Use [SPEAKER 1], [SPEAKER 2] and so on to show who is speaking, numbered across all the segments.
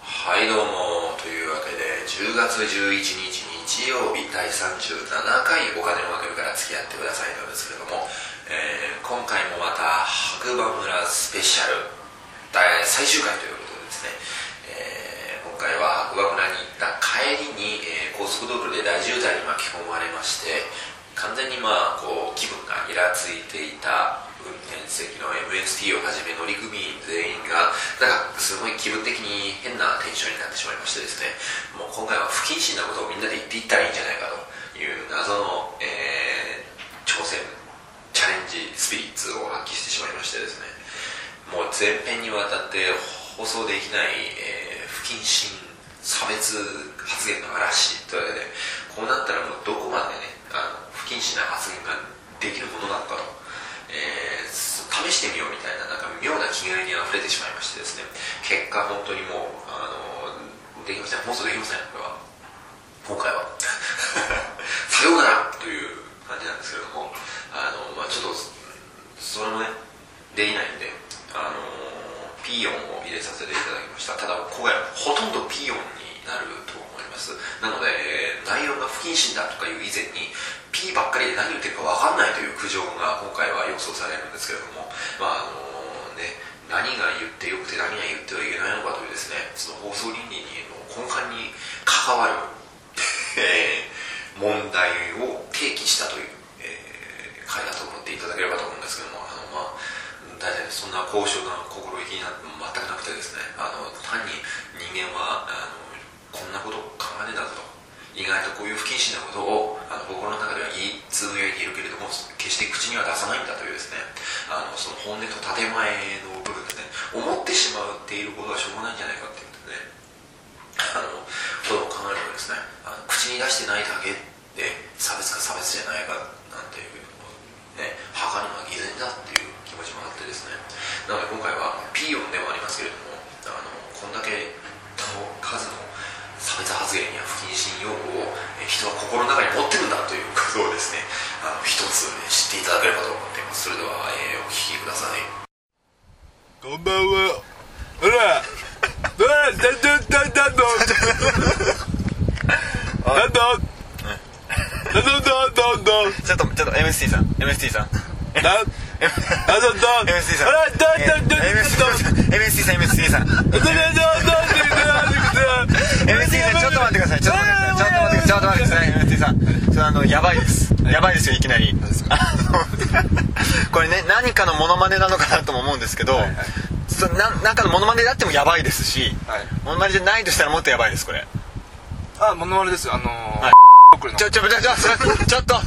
[SPEAKER 1] はいどうもというわけで10月11日日曜日第37回お金の枠から付き合ってくださいなんですけれども、えー今回もまた白馬村スペシャル第最終回ということでですね、えー今回は白馬村に行った帰りに、えー高速道路で大渋滞に巻き込まれまして完全にまあこう気分がイラついていた運転席の MST をはじめ乗組員全員がなんかすごい気分的に変なテンションになってしまいましてですねもう今回は不謹慎なことをみんなで言っていったらいいんじゃないかという謎の、えー挑戦チャレンジスピリッツを発揮してしまいましてですねもう全編にわたって放送できない、えー不謹慎差別発言の嵐というわけでこうなったらもうどこまでねあの不謹慎な発言ができるものなのかと、えーす試してみようみたいななんか妙な気概にあふれてしまいましてですね結果本当にもうあのできません放送できませんこれは今回は さようならという感じなんですけれどもあの、まあ、ちょっとそれもねできないんであのピーヨンを入れさせていただきましたただ今回はほとんどピーヨンになると思いますなのでえー内容が不謹慎だとかいう以前に P ばっかりで何言ってるか分かんないという苦情が今回は予想されるんですけれどもまああのね何が言ってよくて何が言ってはいけないのかというですねその放送倫理にの根幹に関わるえー問題を提起したという、えー回だと思っていただければと思うんですけどもあの、まあ、大体そんな高尚な心意気なんて全くなくてですねあの単に人間はあのこんなこと考えねえだぞと意外とこういう不謹慎なことをあの心の中では言いつぶやいているけれども決して口には出さないんだというですねあのその本音と建前の部分ですね思ってしまっていることはしょうがないんじゃないかっていうことでねあのことを考えるとですねあの口に出してないだけで差別か差別じゃないかなんていうのもね墓には偽善だっていう気持ちもあってですねなので今回はピーヨンではありますけれどもあのこんだけの数の差別発言や不謹慎用語をえ人は心の中に持ってるんだということをですねあの一つ知っていただければと思っていますそれでは、えーお聞きください
[SPEAKER 2] こんばんは。ほら、ほら、だだだだだ。だだ。だだだだだ。
[SPEAKER 3] ちょっと、ちょっと、MST さん。MST さん。
[SPEAKER 2] だ。だだだ。
[SPEAKER 3] MST さん。
[SPEAKER 2] ほら、だだだだだ。
[SPEAKER 3] MST さん、MST さん。
[SPEAKER 2] だだだだだだ。
[SPEAKER 3] MST さん、ちょっと待ってください。ちょっと待ってください。ちょっと待ってください。MST さん。それあの、やばいです。やばいですよ、いきなり。あの、 これね、何かのモノマネなのかなとも思うんですけど、そななんかのモノマネであってもやばいですし、
[SPEAKER 4] はい
[SPEAKER 3] モノマネじゃないとしたらもっとやばいです、これ。
[SPEAKER 4] あ、モノマネですよ。あのー、
[SPEAKER 3] はい
[SPEAKER 4] 僕の
[SPEAKER 3] ちょ、ちょ、ちょ、ちょ、ちょっと。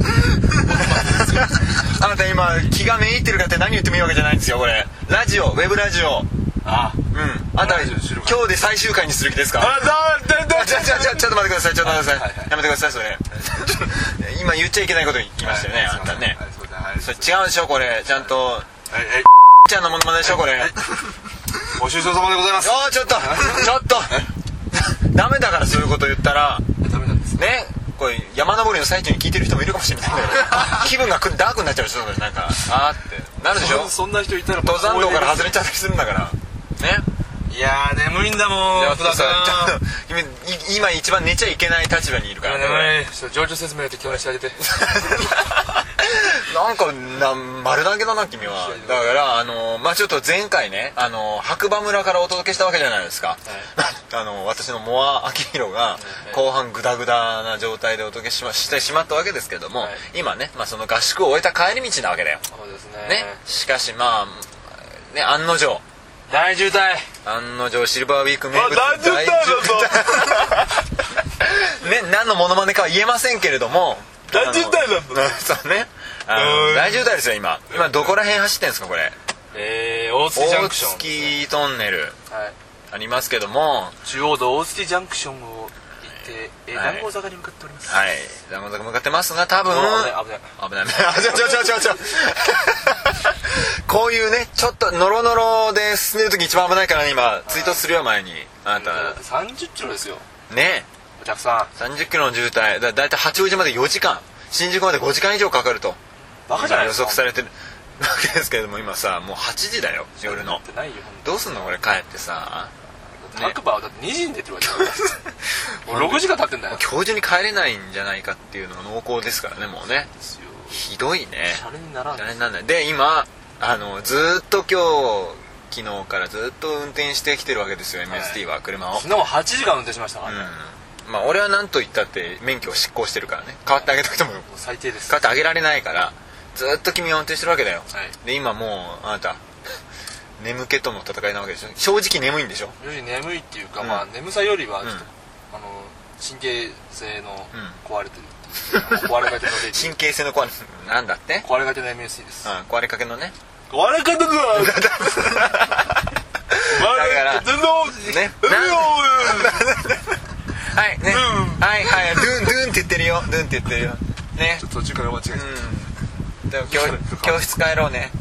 [SPEAKER 3] あなた今、気がめいってるかって何言ってもいいわけじゃないんですよ、これ。ラジオ、ウェブラジオ。
[SPEAKER 4] あ、
[SPEAKER 3] うん。あなた、
[SPEAKER 4] ラジオ
[SPEAKER 3] 今
[SPEAKER 4] にするか
[SPEAKER 3] 日で最終回にする気ですかあちょ、ちょ、ちょ、ちょっと待ってください、ちょっと待ってください。やめてください、それ。 ちょ今言っちゃいけないこと言いましたよね、あなたね。
[SPEAKER 4] はい、すいませんはい
[SPEAKER 3] そ
[SPEAKER 4] す
[SPEAKER 3] れ
[SPEAKER 4] いません
[SPEAKER 3] 違うでしょ、これ。ちゃんと、
[SPEAKER 4] はいはい
[SPEAKER 3] ちゃんのモノマネでしょ、これ。あ
[SPEAKER 4] ご愁傷様でございます。
[SPEAKER 3] ー、ちょっと、ちょっと。 ダメだからそういうこと言ったら、
[SPEAKER 4] ダメなんです。
[SPEAKER 3] ねこれ山登りの最中に聞いてる人もいるかもしれないんだけど 気分がくダークになっちゃうでしょそれなんかあーってなるでしょ
[SPEAKER 4] そそんな人いたら
[SPEAKER 3] 登山道から外
[SPEAKER 4] れ
[SPEAKER 3] れちゃったりするんだからね
[SPEAKER 4] いやー眠いんだもん福田さん
[SPEAKER 3] ちょっと君い今一番寝ちゃいけない立場にいるからね俺
[SPEAKER 4] 眠いちょっと情緒説明だけ共有してあげて
[SPEAKER 3] なんかな丸投げだな君はだからあのまあちょっと前回ねあの白馬村からお届けしたわけじゃないですか、 あの私のモア・アキヒロが後半グダグダな状態でお届けしましてしまったわけですけども、
[SPEAKER 4] はい
[SPEAKER 3] 今ね、まあ、その合宿を終えた帰り道なわけだよ、
[SPEAKER 4] そうですね
[SPEAKER 3] ね、しかしまあね案の定
[SPEAKER 4] 大渋滞
[SPEAKER 3] 案の定シルバーウィーク名物
[SPEAKER 2] あ大渋滞だぞ
[SPEAKER 3] ね何のモノマネかは言えませんけれども
[SPEAKER 2] 大渋滞だぞ
[SPEAKER 3] あのそうねあ
[SPEAKER 2] う
[SPEAKER 3] の
[SPEAKER 2] ん
[SPEAKER 3] 大渋滞ですよ今今どこら辺走ってんですかこれ
[SPEAKER 4] えー、大月ジャン
[SPEAKER 3] 大
[SPEAKER 4] クション
[SPEAKER 3] 月トンネル
[SPEAKER 4] はい
[SPEAKER 3] ありますけども
[SPEAKER 4] 中央道大月ジャンクションを行って、えー、
[SPEAKER 3] はい
[SPEAKER 4] 南郷坂に向かっております
[SPEAKER 3] はい山坂向かってますが多分
[SPEAKER 4] 危ない危ない
[SPEAKER 3] 危ない危 ないあちょちょちょちょちょ こういうねちょっとノロノロで進んでる時一番危ないからね今ツイートするよ前にあな
[SPEAKER 4] だって
[SPEAKER 3] た
[SPEAKER 4] 30キロですよ
[SPEAKER 3] ね
[SPEAKER 4] お客さん
[SPEAKER 3] 3 0キロの渋滞だだいたい八王子まで4時間新宿まで5時間以上かかると
[SPEAKER 4] バカじゃない
[SPEAKER 3] 今
[SPEAKER 4] で
[SPEAKER 3] 予
[SPEAKER 4] すか
[SPEAKER 3] 測されてるわけですけれども今さもう8時だよ夜の
[SPEAKER 4] ってないよ
[SPEAKER 3] どうすんのこれ帰ってさね
[SPEAKER 4] 白馬はだって2時に出てるわけだからもう6時間経ってんだよ
[SPEAKER 3] 今日中に帰れないんじゃないかっていうのが濃厚ですからねもうね
[SPEAKER 4] ですよ
[SPEAKER 3] ひどいね
[SPEAKER 4] シャレにならん
[SPEAKER 3] あれなんだよで今あのずーっと今日昨日からずっと運転してきてるわけですよ MST は車を、
[SPEAKER 4] 昨日も8時間運転しましたからね、も
[SPEAKER 3] うんまあ俺は何と言ったって免許を失効してるからね変わってあげたくても
[SPEAKER 4] う最低です
[SPEAKER 3] 変わってあげられないからずーっと君は運転してるわけだよ、
[SPEAKER 4] はい
[SPEAKER 3] で今もうあなた眠気との戦いなわけでしょ正直眠いんでしょ
[SPEAKER 4] より眠いっていうか、
[SPEAKER 3] うん
[SPEAKER 4] まあ眠さよりはちょっと、
[SPEAKER 3] うん
[SPEAKER 4] あの神経性の
[SPEAKER 3] う
[SPEAKER 4] 壊れてる、壊れかけのレ
[SPEAKER 3] 神経性の壊れなんだって、
[SPEAKER 4] 壊れかけの MSC で
[SPEAKER 3] う
[SPEAKER 4] す、
[SPEAKER 3] ん、壊れかけのね
[SPEAKER 4] 壊れかけの
[SPEAKER 3] だから
[SPEAKER 2] 全然
[SPEAKER 3] ね
[SPEAKER 2] うん
[SPEAKER 3] はいね、はいはいドゥンドゥンって言ってるよドゥンって言ってるよね
[SPEAKER 4] 途中から間違え
[SPEAKER 3] うんでも教教室帰ろうね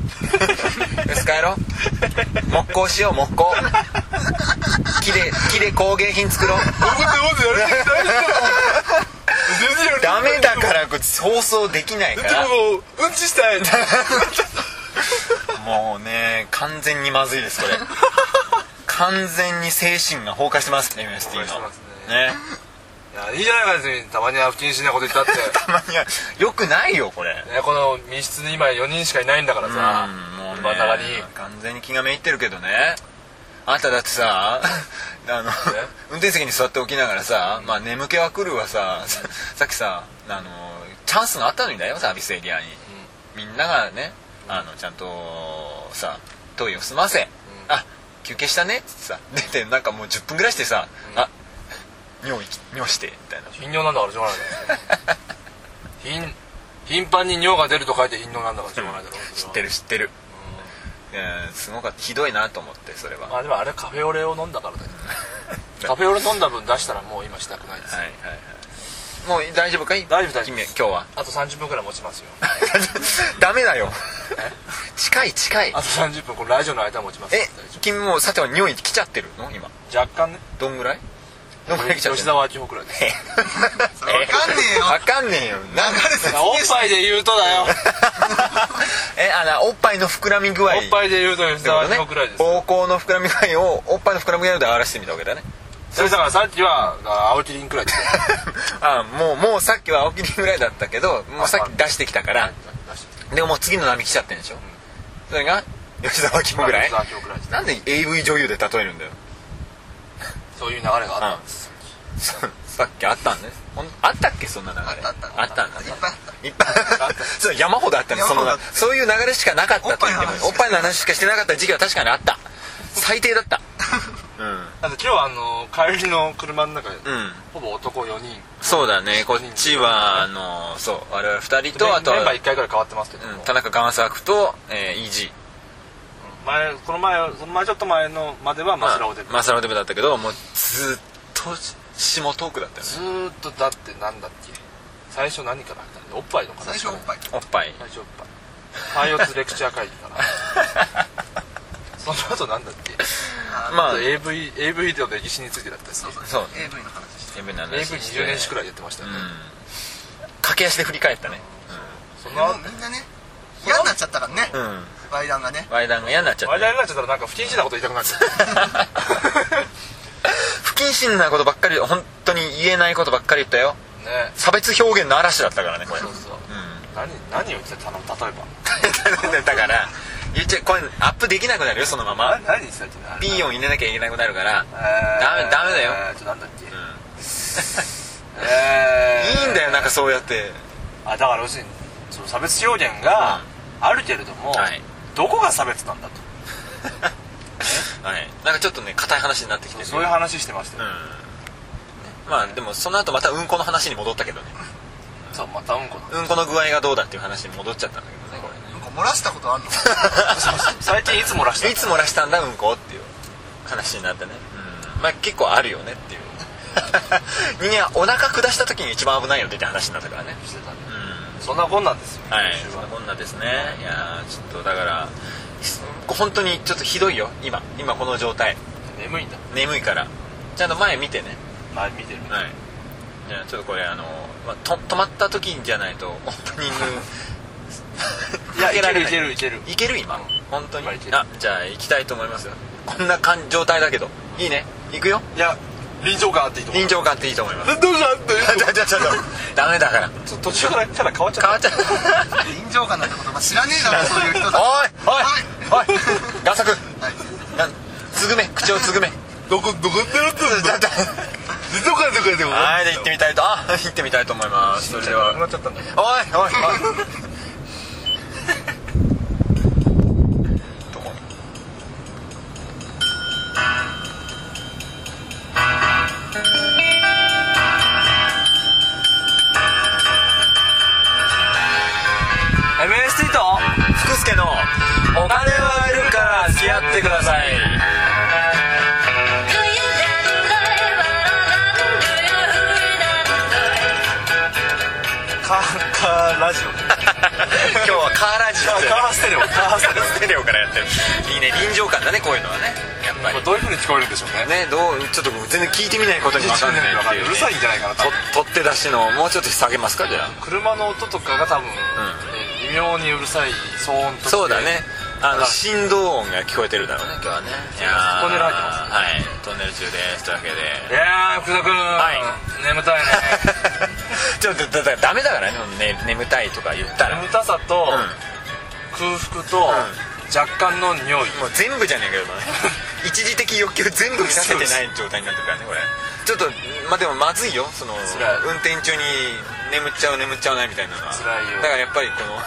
[SPEAKER 3] 教室帰ろう木工しよう木工木で木で工芸品作ろうダメだからこれ放送できないから
[SPEAKER 2] うんちしたい
[SPEAKER 3] もうね完全にまずいですこれ完全に精神が崩壊してますね MST
[SPEAKER 4] 崩壊して
[SPEAKER 3] の
[SPEAKER 4] ます
[SPEAKER 3] ね
[SPEAKER 4] たいやいいじゃないか別にたまには不謹慎なこと言ったって
[SPEAKER 3] たまにはよくないよこれ
[SPEAKER 4] ねこの密室に今4人しかいないんだからさ
[SPEAKER 3] うんもうね
[SPEAKER 4] バタバタに
[SPEAKER 3] 完全に気がめいってるけどねあんただってさ あの運転席に座っておきながらさ、まあ、眠気は来るわさささっきさあのチャンスがあったのにだよサービスエリアに、みんながねあのちゃんとさトイレを済ませ、あ休憩したねっつってさ出てなんかもう10分ぐらいしてさ、あ尿意き尿してみたいな
[SPEAKER 4] 頻尿なんだからしょうがないね頻頻繁に尿が出ると書いて頻尿なんだからしょうがないだろ
[SPEAKER 3] 知って
[SPEAKER 4] る
[SPEAKER 3] る知ってる、うん、すごかったひどいなと思ってそれは、
[SPEAKER 4] まあでもあれカフェオレを飲んだから だよねカフェオレ飲んだ分出したらもう今したくないです、
[SPEAKER 3] はいはいはいもう大丈夫かい
[SPEAKER 4] 大丈夫大丈夫
[SPEAKER 3] 君今日は
[SPEAKER 4] あと30分くらい持ちますよ
[SPEAKER 3] ダメだよ近い近い
[SPEAKER 4] あと30分このラジオの間持ちます
[SPEAKER 3] え
[SPEAKER 4] 大丈
[SPEAKER 3] 君もうさては匂い来ちゃってるの今
[SPEAKER 4] 夫若干ね
[SPEAKER 3] どんぐらいどんぐらい来ちゃって
[SPEAKER 4] 吉
[SPEAKER 3] るの
[SPEAKER 4] 沢明夫く らいです
[SPEAKER 3] わかんねえよわかんねえよなんかです
[SPEAKER 4] おっぱいで言うとだよ
[SPEAKER 3] えあのおっぱいの膨らみ具合
[SPEAKER 4] おっぱいで言うと吉沢明夫くらいです
[SPEAKER 3] 膀胱の膨らみ具合をおっぱいの膨らみ具合で表してみたわけだね
[SPEAKER 4] それだからさっきはだから青木凛くらいですよ
[SPEAKER 3] あもうもうさっきは青木にぐらいだったけどもうさっき出してきたから
[SPEAKER 4] 出して
[SPEAKER 3] でももう次の波来ちゃってるんでしょそれが吉沢君ぐら
[SPEAKER 4] 吉
[SPEAKER 3] い
[SPEAKER 4] 沢明夫くらいです
[SPEAKER 3] なんで AV 女優で例えるんだよ
[SPEAKER 4] そういう流れがあったんです
[SPEAKER 3] そさっきあったんねほんあったっけそんな流れ
[SPEAKER 5] あったあった
[SPEAKER 3] あったんだ
[SPEAKER 5] いっぱいあっ
[SPEAKER 3] いっぱいあったそう山ほどあったねその
[SPEAKER 5] 山ほどあった
[SPEAKER 3] そういう流れしかなかったと言ってもお
[SPEAKER 5] お
[SPEAKER 3] っ
[SPEAKER 5] っ
[SPEAKER 3] ぱいの話しかしてなかった時期は確かにあった最低だったうん
[SPEAKER 4] だって今日はあの帰りの車の中で、
[SPEAKER 3] うん
[SPEAKER 4] ほぼ男4人
[SPEAKER 3] そうだねこっちはあのそう我々2人と
[SPEAKER 4] メン
[SPEAKER 3] あとは
[SPEAKER 4] メンバー1回ぐらい変わってますけども、
[SPEAKER 3] うん田中贋作と、えー、イージー
[SPEAKER 4] 前この前その前ちょっと前のまではマスラオで、
[SPEAKER 3] マスラオデブだったけどもうずっと下トークだったよね
[SPEAKER 4] ずーっとだってなんだっけ最初何から入ったんだおっぱいのかな
[SPEAKER 5] 最初はおっぱい
[SPEAKER 3] おっぱい
[SPEAKER 4] 最初おっぱいパイオツレクチャー会議かな その後なんだっけ
[SPEAKER 3] まあ
[SPEAKER 4] AV, AV の歴史についてだったですね
[SPEAKER 3] そう
[SPEAKER 5] AV の話して
[SPEAKER 3] AV の話して
[SPEAKER 4] AV20 年史くらいやってましたよ
[SPEAKER 3] う
[SPEAKER 4] ね、
[SPEAKER 3] ん駆け足で振り返ったね
[SPEAKER 4] その
[SPEAKER 5] もう
[SPEAKER 4] 後
[SPEAKER 5] みんなね嫌になっちゃったか らね
[SPEAKER 3] うん
[SPEAKER 5] バイダンがね
[SPEAKER 3] ワイダンが嫌になっちゃった
[SPEAKER 4] 話題になっちゃったらなんか不謹慎なこと言いたくなっちゃった
[SPEAKER 3] 不謹慎なことばっかり本当に言えないことばっかり言ったよ
[SPEAKER 4] ね
[SPEAKER 3] 差別表現の嵐だったからねこれ
[SPEAKER 4] そうそう何何を言ってたの例えば
[SPEAKER 3] うん だから言っちゃこれアップできなくなるよそのまま
[SPEAKER 4] な何言ってたっけな
[SPEAKER 3] ピー音入れなきゃいけなくなるから
[SPEAKER 4] えー
[SPEAKER 3] ダメダメだよ
[SPEAKER 4] えーちょっとなんだっけ、えー
[SPEAKER 3] いいんだよなんかそうやって
[SPEAKER 4] あだから要するにその差別表現があるけれども、
[SPEAKER 3] はい
[SPEAKER 4] どこが差別なんだと
[SPEAKER 3] はいなんかちょっとね硬い話になってきてる
[SPEAKER 4] そういう話してました
[SPEAKER 3] う
[SPEAKER 4] よ、
[SPEAKER 3] んまあでもその後またうんこの話に戻ったけどね
[SPEAKER 4] そうまたうんこ
[SPEAKER 3] うんこの具合がどうだっていう話に戻っちゃったんだけどねこれね
[SPEAKER 5] なんか漏らしたことあんの
[SPEAKER 4] 最近いつ漏らした
[SPEAKER 3] いつ漏らしたんだうんこっていう話になってね、うん、まあ結構あるよ ねっていう人間はお腹下した時に一番危ないよねって話になったからね
[SPEAKER 4] してたね
[SPEAKER 3] うん
[SPEAKER 4] そんなこんなんですよ、
[SPEAKER 3] はい
[SPEAKER 4] 今週は
[SPEAKER 3] こんなですねいやーちょっとだからす本当にちょっとひどいよ今今この状態
[SPEAKER 4] 眠いんだ
[SPEAKER 3] 眠いからちゃんと前見てね
[SPEAKER 4] まあ見てる見てる
[SPEAKER 3] はいじゃあちょっとこれあの、まあ、と止まった時じゃないとオープニング
[SPEAKER 4] いやいけるいける
[SPEAKER 3] い
[SPEAKER 4] いける
[SPEAKER 3] いける今
[SPEAKER 4] うん
[SPEAKER 3] 本当に
[SPEAKER 4] 今いける
[SPEAKER 3] あじゃあ行きたいと思いますよこんな感状態だけどいいね行くよ
[SPEAKER 4] いや臨場感あっていいと思う
[SPEAKER 3] 臨場感っていいと思います
[SPEAKER 2] どうしたって
[SPEAKER 3] ちょちょちょダメだから
[SPEAKER 4] ちょ途中からキャラ変わっちゃった
[SPEAKER 3] 変わっちゃう
[SPEAKER 5] 臨場感なんて言葉知らねえだろそういう人だ
[SPEAKER 3] おいおいおい贋作
[SPEAKER 5] はい
[SPEAKER 3] なつぐめ口をつぐめ
[SPEAKER 2] どこどこってなってるんだ静岡とかでも
[SPEAKER 3] はいで行ってみたいとあ行ってみたいと思いますそれでは
[SPEAKER 4] なっちゃったんだ
[SPEAKER 3] おいおいおいどこ
[SPEAKER 4] MST と
[SPEAKER 3] 福助のお金はいるから付き合ってください
[SPEAKER 6] 그유대로날바라보는그유일한
[SPEAKER 4] カーカーラジ
[SPEAKER 3] 今日はカーラジオ
[SPEAKER 4] オカーステレオカーステレ
[SPEAKER 3] ステレオからやってるいいね臨場感だねこういうのはねやっぱ
[SPEAKER 4] オこれ
[SPEAKER 3] り
[SPEAKER 4] どういう風に聞こえるんでしょうね
[SPEAKER 3] ねどうちょっと全然聞いてみないことに分かんないっていう,、
[SPEAKER 4] うる
[SPEAKER 3] ね、
[SPEAKER 4] さいんじゃないかな多分
[SPEAKER 3] と取って出しのもうちょっと下げますかじゃあ
[SPEAKER 4] 車の音とかが多分、えー微妙にうるさい騒音とか
[SPEAKER 3] そうだねあ
[SPEAKER 4] は
[SPEAKER 3] の
[SPEAKER 4] い
[SPEAKER 3] 振動音が聞こえてるだろうね今日はねいやー
[SPEAKER 4] トンネル入ってます
[SPEAKER 3] はいトンネル中です
[SPEAKER 4] いやー福田君、眠たいね
[SPEAKER 3] というわけで はい ちょっとだだダメだからねね眠たいとか言ったら、
[SPEAKER 4] 眠たさと、
[SPEAKER 3] うん
[SPEAKER 4] 空腹と、若干の匂い
[SPEAKER 3] もう全部じゃねえけど ね一時的欲求全部満たせてない状態になってるからねこれちょっとまあでもまずいよその
[SPEAKER 4] 辛
[SPEAKER 3] 運転中に眠っちゃう眠っちゃうないみたいなのは
[SPEAKER 4] 辛いよ
[SPEAKER 3] だからやっぱりこの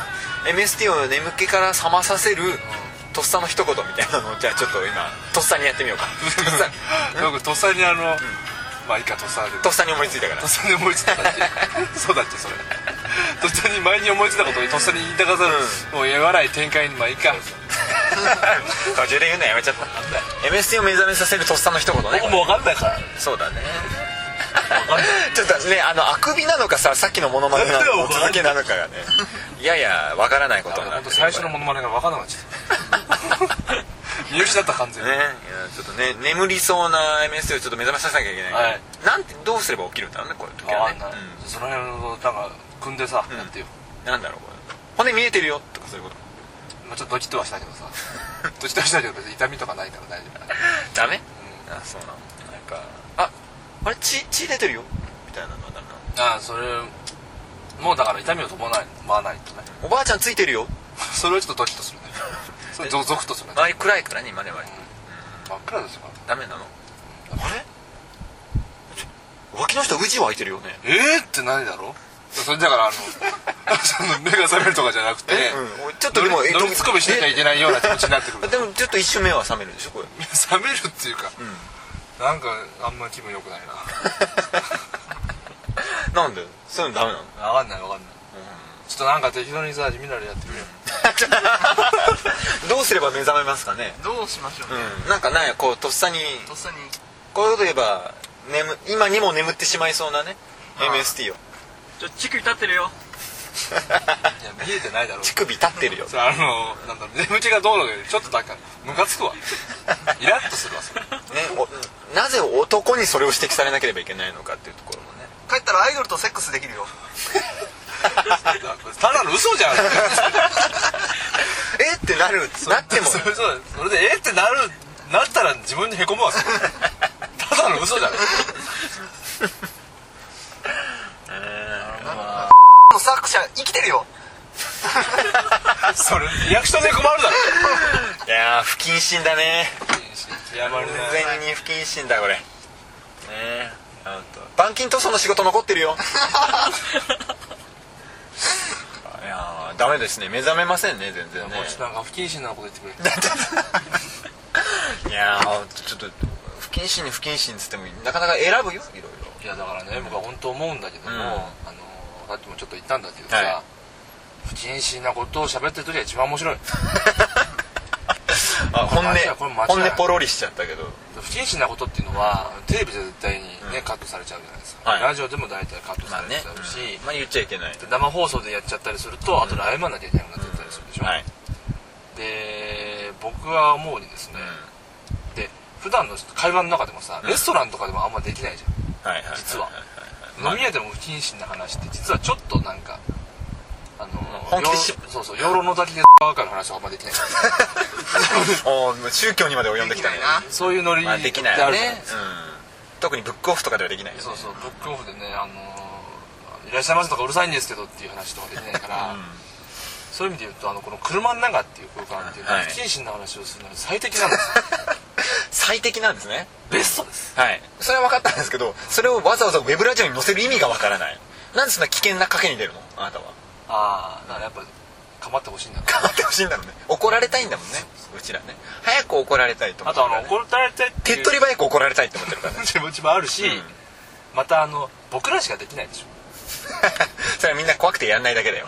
[SPEAKER 3] MST を眠気から覚まさせるとっさの一言みたいなのをじゃあちょっと今とっさにやってみようかとっさ
[SPEAKER 4] 僕とっさにあの、まあいいかとっさで
[SPEAKER 3] と
[SPEAKER 4] と
[SPEAKER 3] っさに思いついたから
[SPEAKER 4] っさに思いついた感 じそうだっけそれとっさに前に思いついたことをとっさに言いたがざる、もうやわない展開にまあいいか
[SPEAKER 3] 途中で言うのやめちゃった MST を目覚めさせるとっさの一言ね
[SPEAKER 4] 僕もう分かんないから
[SPEAKER 3] そうだね ちょっとねあのあくびなのかささっきのモノマネな
[SPEAKER 4] なんだ
[SPEAKER 3] の
[SPEAKER 4] よ
[SPEAKER 3] か続けなのか がねいやいやわからないことになってる
[SPEAKER 4] 最初のモノマネが分かんなくなっちゃった 見失った完全
[SPEAKER 3] ねい
[SPEAKER 4] に、
[SPEAKER 3] やちょっとね眠りそうな MST をちょっと目覚めさせなきゃいけない、
[SPEAKER 4] はい
[SPEAKER 3] なんてどうすれば起きるんだろうねこういう時
[SPEAKER 4] あ
[SPEAKER 3] は
[SPEAKER 4] あ
[SPEAKER 3] ね
[SPEAKER 4] なその辺のなんか組んでさ、やってよ
[SPEAKER 3] うん、なんだろうこれ骨見えてるよとかそういうこと
[SPEAKER 4] まあちょっとドキッとはしたけど さドキッとはしたけど別に痛みとかないから大丈夫
[SPEAKER 3] ダメ、あそうなのなんかああれ血血出てるよみたいなのはダメなの
[SPEAKER 4] ああそれもうだから痛みを伴わないとね
[SPEAKER 3] おばあちゃんついてるよ
[SPEAKER 4] それはちょっとドキッとするねそれゾゾクッとする ね
[SPEAKER 3] あれ暗いからね今ねは
[SPEAKER 4] 真っ暗ですよ
[SPEAKER 3] ダメなのあれちょ脇の人宇治湧いてるよね
[SPEAKER 4] えー、って何だろうそれだからあの その目が覚めるとかじゃなくて、
[SPEAKER 3] うん俺ちょっと
[SPEAKER 4] 乗
[SPEAKER 3] で
[SPEAKER 4] り
[SPEAKER 3] も
[SPEAKER 4] 乗りつこみしなきゃいけないような気持ちになってく
[SPEAKER 3] え
[SPEAKER 4] る
[SPEAKER 3] でもちょっと一瞬目は覚めるでしょこれ
[SPEAKER 4] 目覚めるっていうか、なんかあんま気分良くないな
[SPEAKER 3] なんでそういうのダメなの
[SPEAKER 4] 分かんない分かんない、ちょっとなんか適当にさ地味なのやってみる よ
[SPEAKER 3] どうすれば目覚めますかね
[SPEAKER 5] どうしましょうね
[SPEAKER 3] うんなんかないこうとっさに
[SPEAKER 5] とっさに
[SPEAKER 3] こういうこと言えば眠今にも眠ってしまいそうなね MST を
[SPEAKER 4] いや見えてないだろう
[SPEAKER 3] 乳首立ってるよ
[SPEAKER 4] それあのなんだろう眠気がどうのかよりちょっとなんかムカつ くわイラッとするわそれ
[SPEAKER 3] ねおなぜ男にそれを指摘されなければいけないのかっていうところもね
[SPEAKER 5] 帰ったらアイドルとセックスできるよ
[SPEAKER 4] ただの嘘じゃん
[SPEAKER 3] えってなるなっても
[SPEAKER 4] それそうそれでえってなるなったら自分にへこむわそ れただの嘘じゃん
[SPEAKER 5] の作者生きてるよ
[SPEAKER 4] それリアクションで困るだろ
[SPEAKER 3] いやー不謹慎だね
[SPEAKER 4] やばいね
[SPEAKER 3] 完全に不謹慎だこれねえ板金塗装の仕事残ってるよ いやーダメですね目覚めませんね全然ね
[SPEAKER 4] もうちょっとなんか不謹慎なこと言ってくれ
[SPEAKER 3] いやーちょっと不謹慎に不謹慎っつってもなかなか選ぶよいろいろ
[SPEAKER 4] いやだからね僕は本当思うんだけども、
[SPEAKER 3] うん
[SPEAKER 4] あのさっきもちょっと言ったんだけどさ、
[SPEAKER 3] はい
[SPEAKER 4] 不謹慎なことを喋ってる時が一番面白い
[SPEAKER 3] あ本
[SPEAKER 4] 間違いこれ間違
[SPEAKER 3] 音
[SPEAKER 4] い
[SPEAKER 3] 本音ポロリしちゃったけど
[SPEAKER 4] 不謹慎なことっていうのはテレビで絶対にね、カットされちゃうじゃないですか、
[SPEAKER 3] はい
[SPEAKER 4] ラジオでも大体カットされちゃうし、
[SPEAKER 3] まあ言っちゃいけない
[SPEAKER 4] で生放送でやっちゃったりすると、後で謝んなきゃいけなくなっちゃったりするでしょ、
[SPEAKER 3] はい
[SPEAKER 4] で僕は思うにですね、で普段の会話の中でもさ、レストランとかでもあんまできないじ
[SPEAKER 3] はいはい
[SPEAKER 4] 実はゃん、
[SPEAKER 3] まあ
[SPEAKER 4] 飲み屋でも不謹慎な話って実はちょっとなんかあの
[SPEAKER 3] 本気でし
[SPEAKER 4] ようそうそう養老の滝でバカの話はあんまで きない
[SPEAKER 3] おー宗教にまで及んできたね
[SPEAKER 5] できないな
[SPEAKER 4] そういうノリ
[SPEAKER 3] まあできない
[SPEAKER 4] ってあるじゃ
[SPEAKER 3] ね
[SPEAKER 4] ですか
[SPEAKER 3] うん特にブックオフとかではできないよね
[SPEAKER 4] そうそうブックオフでねあのーいらっしゃいませとかうるさいんですけどっていう話とかできないから、そういう意味で言うとあのこの車の中っていう空間っていうのは
[SPEAKER 3] はい
[SPEAKER 4] 不謹慎な話をするのに最適なんですよ
[SPEAKER 3] 最適なんですね
[SPEAKER 4] ベストです
[SPEAKER 3] はいそれは分かったんですけどそれをわざわざウェブラジオに載せる意味が分からないなんでそんな危険な賭けに出るのあなたは
[SPEAKER 4] ああだからやっぱ構ってほしいんだな
[SPEAKER 3] 頑張ってほしいんだろうね怒られたいんだもんねうちらね早く怒られたいと思
[SPEAKER 4] あ
[SPEAKER 3] ってる
[SPEAKER 4] と
[SPEAKER 3] か
[SPEAKER 4] あ
[SPEAKER 3] ら
[SPEAKER 4] の
[SPEAKER 3] ね
[SPEAKER 4] 怒られたいって
[SPEAKER 3] 手
[SPEAKER 4] い
[SPEAKER 3] っ
[SPEAKER 4] う
[SPEAKER 3] 取り早く怒られたいって思ってるからね
[SPEAKER 4] 気持ちもあるし、
[SPEAKER 3] うん
[SPEAKER 4] またあの僕らしかできないでしょ
[SPEAKER 3] それはみんな怖くてやんないだけだよ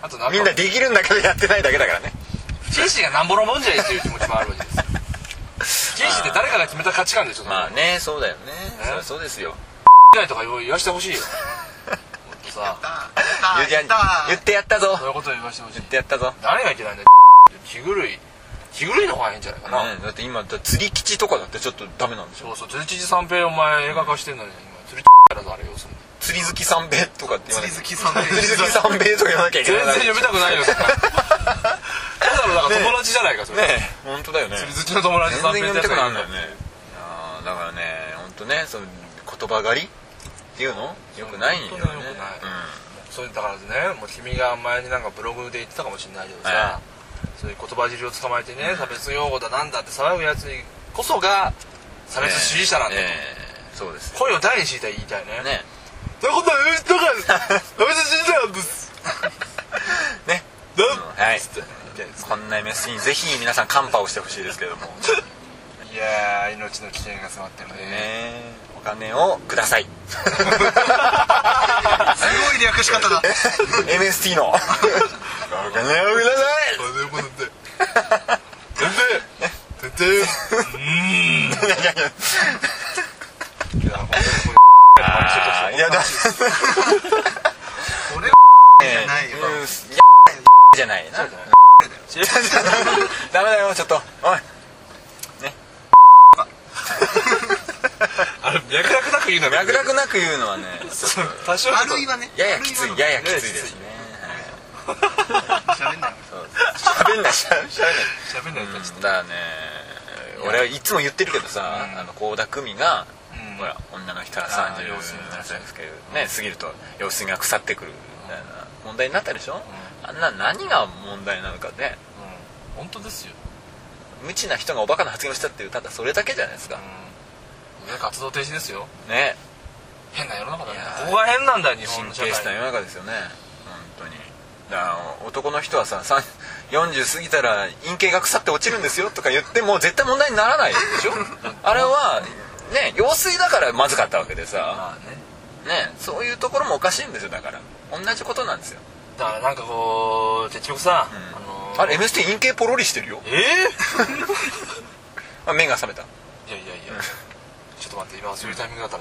[SPEAKER 4] あとなん
[SPEAKER 3] みんな
[SPEAKER 4] か
[SPEAKER 3] できるんだけどやってないだけだからね
[SPEAKER 4] 不謹慎がなんぼのもんじゃいっていう気持ちもあるわけですよ 不謹慎って誰かが決めた価値観でしょ
[SPEAKER 3] まあねそうだよね
[SPEAKER 4] え
[SPEAKER 3] そりゃそうですよ
[SPEAKER 4] そんなのとか言わしてほしいよほんとさ
[SPEAKER 5] あ
[SPEAKER 3] ゆうちゃん言ってやったぞ
[SPEAKER 4] そういうことを言わしてほしい
[SPEAKER 3] 言ってやったぞ
[SPEAKER 4] 何がいけないんだよ気狂い気狂いの方がいいんじゃないかな、
[SPEAKER 3] ねだって今だ釣り基地とかだってちょっとダメなんでしょ
[SPEAKER 4] そうそう釣り知事三平お前映画化してんのに今釣りからだあれよそんな
[SPEAKER 3] 釣り好き三兵とかって言わなきゃ
[SPEAKER 5] 釣 り好き三兵
[SPEAKER 3] 釣り好き三兵とか言わなきゃいけ
[SPEAKER 4] 全
[SPEAKER 3] ない
[SPEAKER 4] 然読みたくないよそん なただのだから友達じゃないかそれ、
[SPEAKER 3] ねえ本当だよね
[SPEAKER 4] 釣り好きの友達
[SPEAKER 3] 全
[SPEAKER 4] 三
[SPEAKER 3] 然
[SPEAKER 4] 平
[SPEAKER 3] 読
[SPEAKER 4] って
[SPEAKER 3] み
[SPEAKER 4] やつ
[SPEAKER 3] たく
[SPEAKER 4] がる
[SPEAKER 3] ないいん
[SPEAKER 4] の
[SPEAKER 3] だよねあーだからね本当ねその言葉狩りっていうのよくないよね
[SPEAKER 4] 本当に良くないそれだからねもう君が前になんかブログで言ってたかもしれないけどさ、
[SPEAKER 3] は
[SPEAKER 4] そういう言葉尻を捕まえてね差別用語だなんだって騒ぐやつこそが差別主義者なんだよ、
[SPEAKER 3] ねえそうですよ
[SPEAKER 4] 声を大にして言いたいね
[SPEAKER 3] ね
[SPEAKER 4] そういうことは言う人が差別主義者なんです
[SPEAKER 3] ね
[SPEAKER 4] な
[SPEAKER 3] はい
[SPEAKER 4] つって言いたいです
[SPEAKER 3] こんな MS にぜひ皆さんカンパをしてほしいですけどもね
[SPEAKER 4] いやー命の危険が迫ってるね
[SPEAKER 3] えお金をください
[SPEAKER 5] すごい略し方だ
[SPEAKER 3] MST のお金をください
[SPEAKER 4] そういうことで
[SPEAKER 3] あーいやだ
[SPEAKER 5] 俺じゃないよ
[SPEAKER 3] うんいやじゃないなダメだよちょっとおい
[SPEAKER 4] あれ脈絡なく言うのは
[SPEAKER 3] 脈絡なく言うのはね
[SPEAKER 4] 多少
[SPEAKER 5] あるいはね
[SPEAKER 3] ややきついややきついですね
[SPEAKER 5] 喋ん
[SPEAKER 3] 喋ん
[SPEAKER 5] ない
[SPEAKER 3] ないしゃべんない
[SPEAKER 4] 喋んないとちょっ
[SPEAKER 3] だからね俺はいつも言ってるけどさ
[SPEAKER 4] うん
[SPEAKER 3] あの倖田來未が
[SPEAKER 4] うん
[SPEAKER 3] ほら女の日から
[SPEAKER 4] あー
[SPEAKER 3] 37
[SPEAKER 4] 用水
[SPEAKER 3] 歳ですけどね過ぎると様子が腐ってくるみたいな問題になったでしょあんな何が問題なのかね
[SPEAKER 4] と本当ですよ
[SPEAKER 3] 無知な人がおバカな発言をしたっていうただそれだけじゃないですか
[SPEAKER 4] うん活動停止ですよ
[SPEAKER 3] ね
[SPEAKER 4] 変な世の中だね
[SPEAKER 3] いやー
[SPEAKER 4] ここが変なんだよ日本
[SPEAKER 3] 神
[SPEAKER 4] の社
[SPEAKER 3] 経
[SPEAKER 4] 会
[SPEAKER 3] 質な世の中ですよね本当にだから男の人はささん40過ぎたら陰茎が腐って落ちるんですよとか言っても絶対問題にならないでしょあれはね用水だからまずかったわけで
[SPEAKER 4] ま
[SPEAKER 3] さ
[SPEAKER 4] あね
[SPEAKER 3] ねそういうところもおかしいんですよだから同じことなんですよ
[SPEAKER 4] だからなんかこう結局さ、
[SPEAKER 3] ん
[SPEAKER 4] あのー
[SPEAKER 3] あれ MST 陰茎ポロリしてるよ
[SPEAKER 4] ええ
[SPEAKER 3] あ目が覚めた
[SPEAKER 4] いやいやいやちょっと待って今そういうタイミングだった
[SPEAKER 3] あ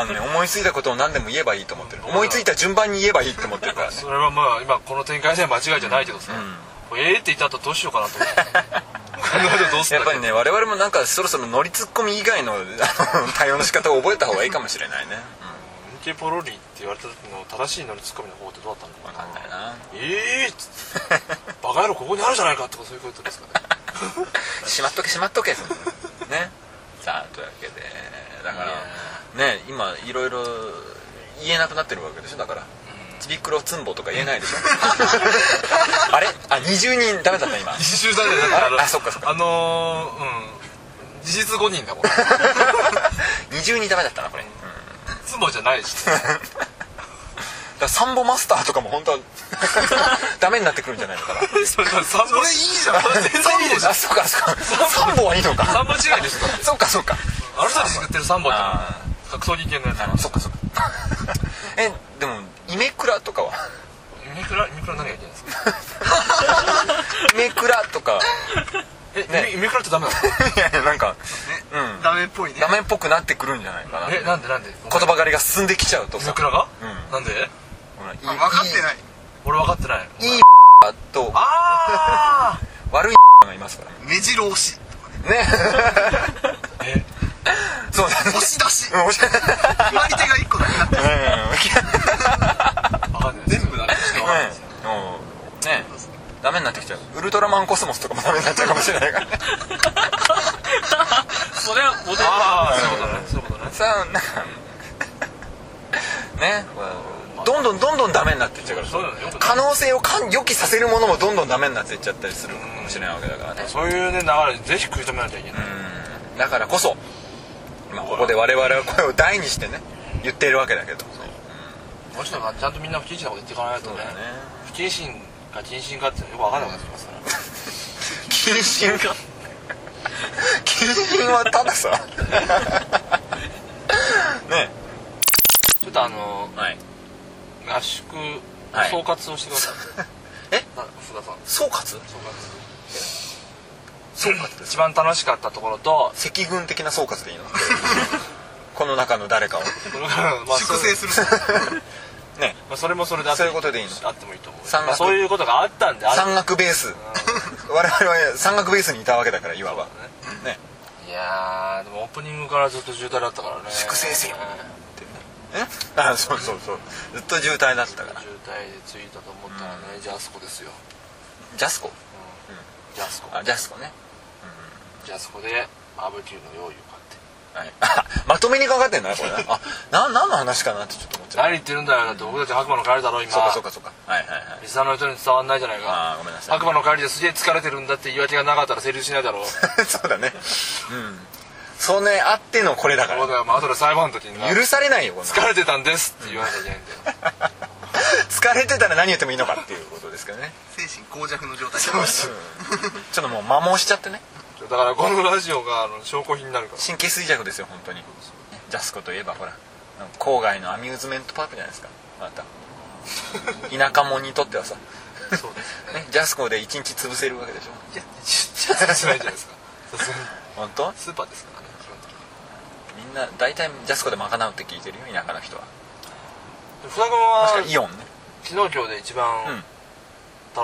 [SPEAKER 4] な
[SPEAKER 3] あのね思いついたことを何でも言えばいいと思ってる思いついた順番に言えばいいって思ってるから ね
[SPEAKER 4] それはまあ今この展開では間違いじゃないけどさ、これええって言った後どうしようかなと思ってこの後どうす
[SPEAKER 3] や
[SPEAKER 4] る
[SPEAKER 3] っぱりね我々もなんかそろそろ乗りツッコミ以外のあの対応の仕方を覚えた方がいいかもしれないね、
[SPEAKER 4] 運慶ポロリって言われた時の正しい乗りツッコミの方ってどうだったのか
[SPEAKER 3] 分かんないな
[SPEAKER 4] ええっつってバカ野郎ここにあるじゃないかとかそういうことですかね
[SPEAKER 3] しまっとけしまっとけそんなのねさあというわけでだからね今いろいろ言えなくなってるわけでしょだからちびくろつんぼとか言えないで しょあれあ20人ダメだった今
[SPEAKER 4] 自習だねだから
[SPEAKER 3] ああそっかそっか
[SPEAKER 4] あのー、うん事実5人だも ん
[SPEAKER 3] 20人ダメだったなこれ、うん
[SPEAKER 4] つもじゃないし
[SPEAKER 3] だからサンボマスターとかも本当は ダメになってくるんじゃないのかな
[SPEAKER 4] それ三本いいじゃん全然いいでしょ
[SPEAKER 3] あそっかあそっかサンボはいいのか
[SPEAKER 4] 三本違いでしょだって
[SPEAKER 3] そっかそっか
[SPEAKER 4] あの人たち作ってる三本って
[SPEAKER 3] あ
[SPEAKER 4] 格闘技系のやつ
[SPEAKER 3] あのそっかそっかえでもイメクラとかは
[SPEAKER 4] イメクライメクラ何がいけないんですか
[SPEAKER 3] イメクラとか
[SPEAKER 4] え、
[SPEAKER 3] ね
[SPEAKER 4] イメイメクラってダメなの
[SPEAKER 3] いやいやなんかうん
[SPEAKER 5] ダメっぽいね
[SPEAKER 3] 画面っぽくなってくるんじゃないかな
[SPEAKER 4] え
[SPEAKER 3] 言
[SPEAKER 4] なんでなんで
[SPEAKER 3] 葉狩りが進んできちゃうと
[SPEAKER 4] イ
[SPEAKER 3] さ
[SPEAKER 4] メクラが、
[SPEAKER 3] うん
[SPEAKER 4] なんで
[SPEAKER 3] ほらいい
[SPEAKER 5] あ分かってない
[SPEAKER 4] 俺分かってない
[SPEAKER 3] いいと
[SPEAKER 4] あ
[SPEAKER 3] 悪いがいますから
[SPEAKER 5] 目白押し
[SPEAKER 3] ね
[SPEAKER 4] あえ
[SPEAKER 3] そうだね
[SPEAKER 5] 押し出し
[SPEAKER 3] うんおしゃれ
[SPEAKER 5] 決まり手が一個だけなって
[SPEAKER 4] 分
[SPEAKER 5] る
[SPEAKER 4] かんない全部だね
[SPEAKER 3] うんうんねダきちゃうウルトラマンコスモスとかもダメになっちゃうかもしれないから
[SPEAKER 4] それはモデル
[SPEAKER 3] あー
[SPEAKER 4] そういうことねそういうことね
[SPEAKER 3] さあなんかねどんどんどんどんダメになっていっちゃうから
[SPEAKER 4] そうだねよくない
[SPEAKER 3] 可能性をかん予期させるものもどんどんダメになっていっちゃったりするかもしれないわけだからね
[SPEAKER 4] そういうね流れぜひ食い止めなきゃいけない
[SPEAKER 3] うんだからこそ、まあ、ここで我々は声を大にしてね言っているわけだけど
[SPEAKER 4] もうちょっとちゃんとみんな不謹慎なこと言っていかないとね不謹慎か謹慎かっていうのはよく分かんなくなってきますから
[SPEAKER 3] 謹慎か謹慎はただ さね
[SPEAKER 4] ちょっとあの
[SPEAKER 3] はい
[SPEAKER 4] 合宿
[SPEAKER 3] はい
[SPEAKER 4] 総括をしてください
[SPEAKER 3] え
[SPEAKER 4] な福田さん
[SPEAKER 3] 総
[SPEAKER 4] 総
[SPEAKER 3] 括総括です
[SPEAKER 4] 括一番楽しかったところと
[SPEAKER 3] 赤軍的な総括でいいの この中の誰かを
[SPEAKER 4] これから まあ
[SPEAKER 5] 粛
[SPEAKER 4] そ
[SPEAKER 5] 清
[SPEAKER 4] れ
[SPEAKER 5] する
[SPEAKER 3] ね
[SPEAKER 4] まあそれもそれであって
[SPEAKER 3] そういうことでいいの
[SPEAKER 4] あってもいいと思う、
[SPEAKER 3] 山岳
[SPEAKER 4] まあ、そういうことがあったんであ
[SPEAKER 3] 山岳ベース我々は山岳ベースにいたわけだからいわばね
[SPEAKER 4] いやーでもオープニングからずっと渋滞だったからね
[SPEAKER 3] 粛清せよ
[SPEAKER 4] うん
[SPEAKER 3] えあそうそうそうずっと渋滞だったから
[SPEAKER 4] 渋滞で着いたと思ったらね、ジャスコですよ
[SPEAKER 3] ジャスコ
[SPEAKER 4] ジャスコ
[SPEAKER 3] あジャスコね
[SPEAKER 4] ジャスコでバーベキューの用意を買って
[SPEAKER 3] はい、 あまとめにかかってんのねこれあな何の話かなってちょっと思っちゃ
[SPEAKER 4] 何
[SPEAKER 3] う
[SPEAKER 4] 言ってるんだよだって僕たち白馬の帰りだろ今
[SPEAKER 3] そうかそうかそうかはいはいはい
[SPEAKER 4] リスナーの人に伝わんないじゃないか
[SPEAKER 3] あーごめんなさい
[SPEAKER 4] 白馬の帰りですげえ疲れてるんだって言い訳がなかったら成立しないだろう
[SPEAKER 3] そうだねうんそれあってのこれだか
[SPEAKER 4] そう
[SPEAKER 3] ら
[SPEAKER 4] だよ、まあ後で裁判の時にな
[SPEAKER 3] 許されないよこんなの
[SPEAKER 4] 疲れてたんですって言わなきゃいけないんだよ
[SPEAKER 3] 疲れてたら何言ってもいいのかっていうことですけどね
[SPEAKER 5] 精神耗弱の状態
[SPEAKER 3] ちょっともう摩耗しちゃってね
[SPEAKER 4] だからこのラジオがあの証拠品になるから
[SPEAKER 3] 神経衰弱ですよ本当にジャスコといえばほら郊外のアミューズメントパークじゃないですかあなた田舎者にとってはさ
[SPEAKER 4] そうですね
[SPEAKER 3] ねジャスコで一日潰せるわけでしょ
[SPEAKER 4] ちっちゃいしないじゃないですかさすがに
[SPEAKER 3] 本当
[SPEAKER 4] スーパーですからね基本的に
[SPEAKER 3] みんな大体ジャスコで賄うって聞いてるよ田舎の人は
[SPEAKER 4] で福田君
[SPEAKER 3] 確
[SPEAKER 4] は
[SPEAKER 3] かイオンね
[SPEAKER 4] 昨日今日で一
[SPEAKER 3] うん
[SPEAKER 4] 番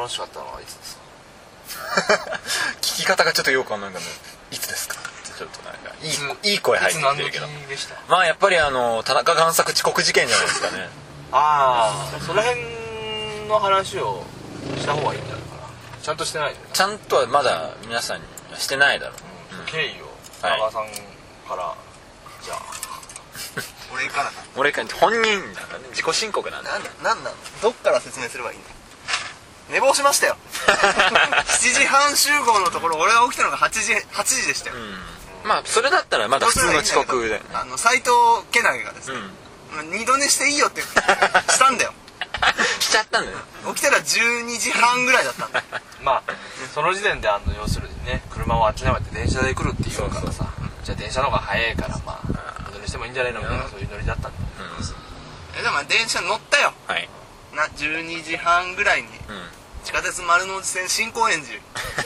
[SPEAKER 4] 楽しかったのはいつですか、
[SPEAKER 3] 聞き方がちょっとよくわかんないんだけどいつですかってちょっとなんかい
[SPEAKER 4] いつ
[SPEAKER 3] いいい声入ってきてるけど
[SPEAKER 4] いつ何時でした
[SPEAKER 3] まあやっぱりあの田中贋作遅刻事件じゃないですかね
[SPEAKER 4] ああその辺の話をした方がいいんじゃないかなちゃんとしてないよね、
[SPEAKER 3] ちゃんとはまだ皆さんにはしてないだろう
[SPEAKER 4] 経緯を
[SPEAKER 3] は
[SPEAKER 4] 馬
[SPEAKER 3] い
[SPEAKER 4] 場さんから、じゃあ
[SPEAKER 5] 俺から
[SPEAKER 3] 俺か本人だからね自己申告なんだ
[SPEAKER 5] ななんなんなんどっから説明すればいいんだ寝坊しましたよ 7時半集合のところ俺が起きたのが8時8時でしたよ、
[SPEAKER 3] まあそれだったらまだ普通の遅刻で、ね、
[SPEAKER 5] あの斎藤けなげがですね、二度寝していいよってしたんだよ
[SPEAKER 3] しちゃったんだよ
[SPEAKER 5] 起きたら12時半ぐらいだったんだ
[SPEAKER 4] まあその時点であの要するにね車をあっちにって電車で来るっていうからさじゃあ電車の方が早いからまあどれにしてもいいんじゃないのみたいなそういうノリだったんだ
[SPEAKER 5] えでもまあ電車乗ったよ
[SPEAKER 3] はい
[SPEAKER 5] な12時半ぐらいに、地下鉄丸の内線新高円寺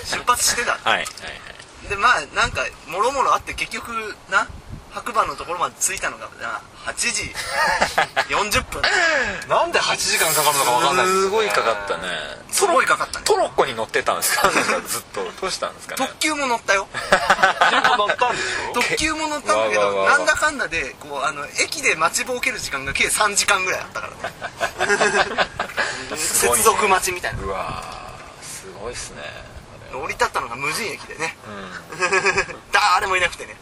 [SPEAKER 5] 出発してた
[SPEAKER 3] はいはい
[SPEAKER 5] でまあなんかもろもろあって結局な白馬のところまで着いたのがな8時40分
[SPEAKER 4] なんで8時間かかるのかわかんないですよね
[SPEAKER 3] すごいかかったね
[SPEAKER 5] すごいかかったね
[SPEAKER 3] トロッコに乗ってたんですかなん かずっとどうしたんですかね
[SPEAKER 5] 特急も乗ったよ
[SPEAKER 4] 結構乗ったんでしょ
[SPEAKER 5] 特急も乗ったんだけ
[SPEAKER 3] わわ
[SPEAKER 5] ど
[SPEAKER 3] わわ
[SPEAKER 5] なんだかんだでこうあの駅で待ちぼうける時間が計3時間ぐらいあったからね
[SPEAKER 3] すごい
[SPEAKER 5] 接
[SPEAKER 3] ね
[SPEAKER 5] 続待ちみたいな
[SPEAKER 3] うわーすごいっすね
[SPEAKER 5] 降り立ったのが無人駅でね、誰もいなくてね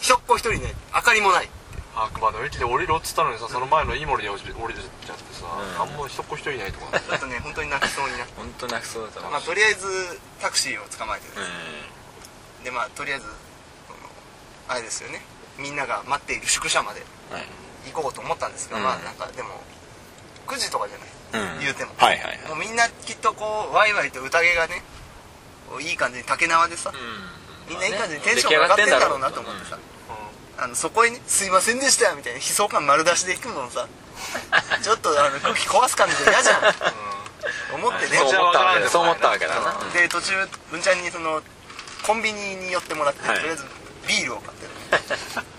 [SPEAKER 5] ひょっこ一人ね明かりもない
[SPEAKER 4] 白馬の駅で降りろっつったのにさその前のイモリで降り降りちゃってさ、あんま一人っ子いないとかね
[SPEAKER 5] ちょっとね本当に泣きそうになって
[SPEAKER 3] 本当泣きそうだった
[SPEAKER 5] まあとりあえずタクシーを捕まえてですね
[SPEAKER 3] う
[SPEAKER 5] でまあとりあえずそのあれですよねみんなが待っている宿舎まで
[SPEAKER 3] んはい
[SPEAKER 5] 行こうと思ったんですけど、
[SPEAKER 3] うん
[SPEAKER 5] まあなんかでも9時とかじゃない、
[SPEAKER 3] うん
[SPEAKER 5] 言うても、
[SPEAKER 3] はいはいはい
[SPEAKER 5] もうみんなきっとこうワイワイと宴がねこういい感じに竹縄でさ、みんないい感じにテンションが上がってんだろうなと思ってさ、あのそこへね「すいませんでした」みたいな悲壮感丸出しで行くのもさちょっとあの空気壊す感じで嫌じゃん、思ってね
[SPEAKER 3] そう思ったわけだそう思ったわけだな
[SPEAKER 5] で途中うんちゃんにそのコンビニに寄ってもらって、
[SPEAKER 3] はい
[SPEAKER 5] とりあえずビールを買ってね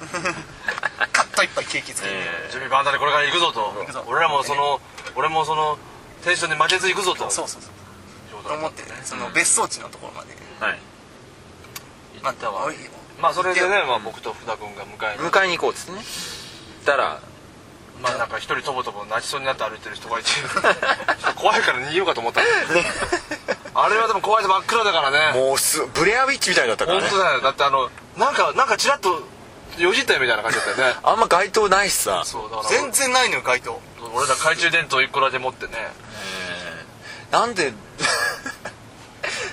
[SPEAKER 5] カッと一杯ケーキ作って、
[SPEAKER 4] 準備万端でこれから行くぞと
[SPEAKER 5] くぞ
[SPEAKER 4] 俺らもその俺もそのテンションに負けず行くぞと
[SPEAKER 5] そうそうそう
[SPEAKER 4] いうこと
[SPEAKER 5] と
[SPEAKER 4] だ
[SPEAKER 5] 思ってねその別荘地のところまで、
[SPEAKER 3] はい
[SPEAKER 5] ま
[SPEAKER 4] 行ったわ
[SPEAKER 5] おい
[SPEAKER 4] まあそれでね、まあ、僕と福田君が迎えに、
[SPEAKER 3] 迎えに行こうっつってねたら
[SPEAKER 4] まあ、なんか一 人とぼとぼ泣きそうになって歩いてる人がいてちょっと怖いから逃げようかと思ったんだけどあれはでも怖いで真っ暗だからね
[SPEAKER 3] もうすブレアウィッチみたいだったから
[SPEAKER 4] 本
[SPEAKER 3] ね
[SPEAKER 4] 当だよだってあのなんかなんかちらっとよじったよみたいな感じだったよね
[SPEAKER 3] あんま街灯ないしさ
[SPEAKER 4] そうだから
[SPEAKER 5] 全然ないのよ街灯
[SPEAKER 4] 俺ら懐中電灯一個だけ持ってね
[SPEAKER 3] なんで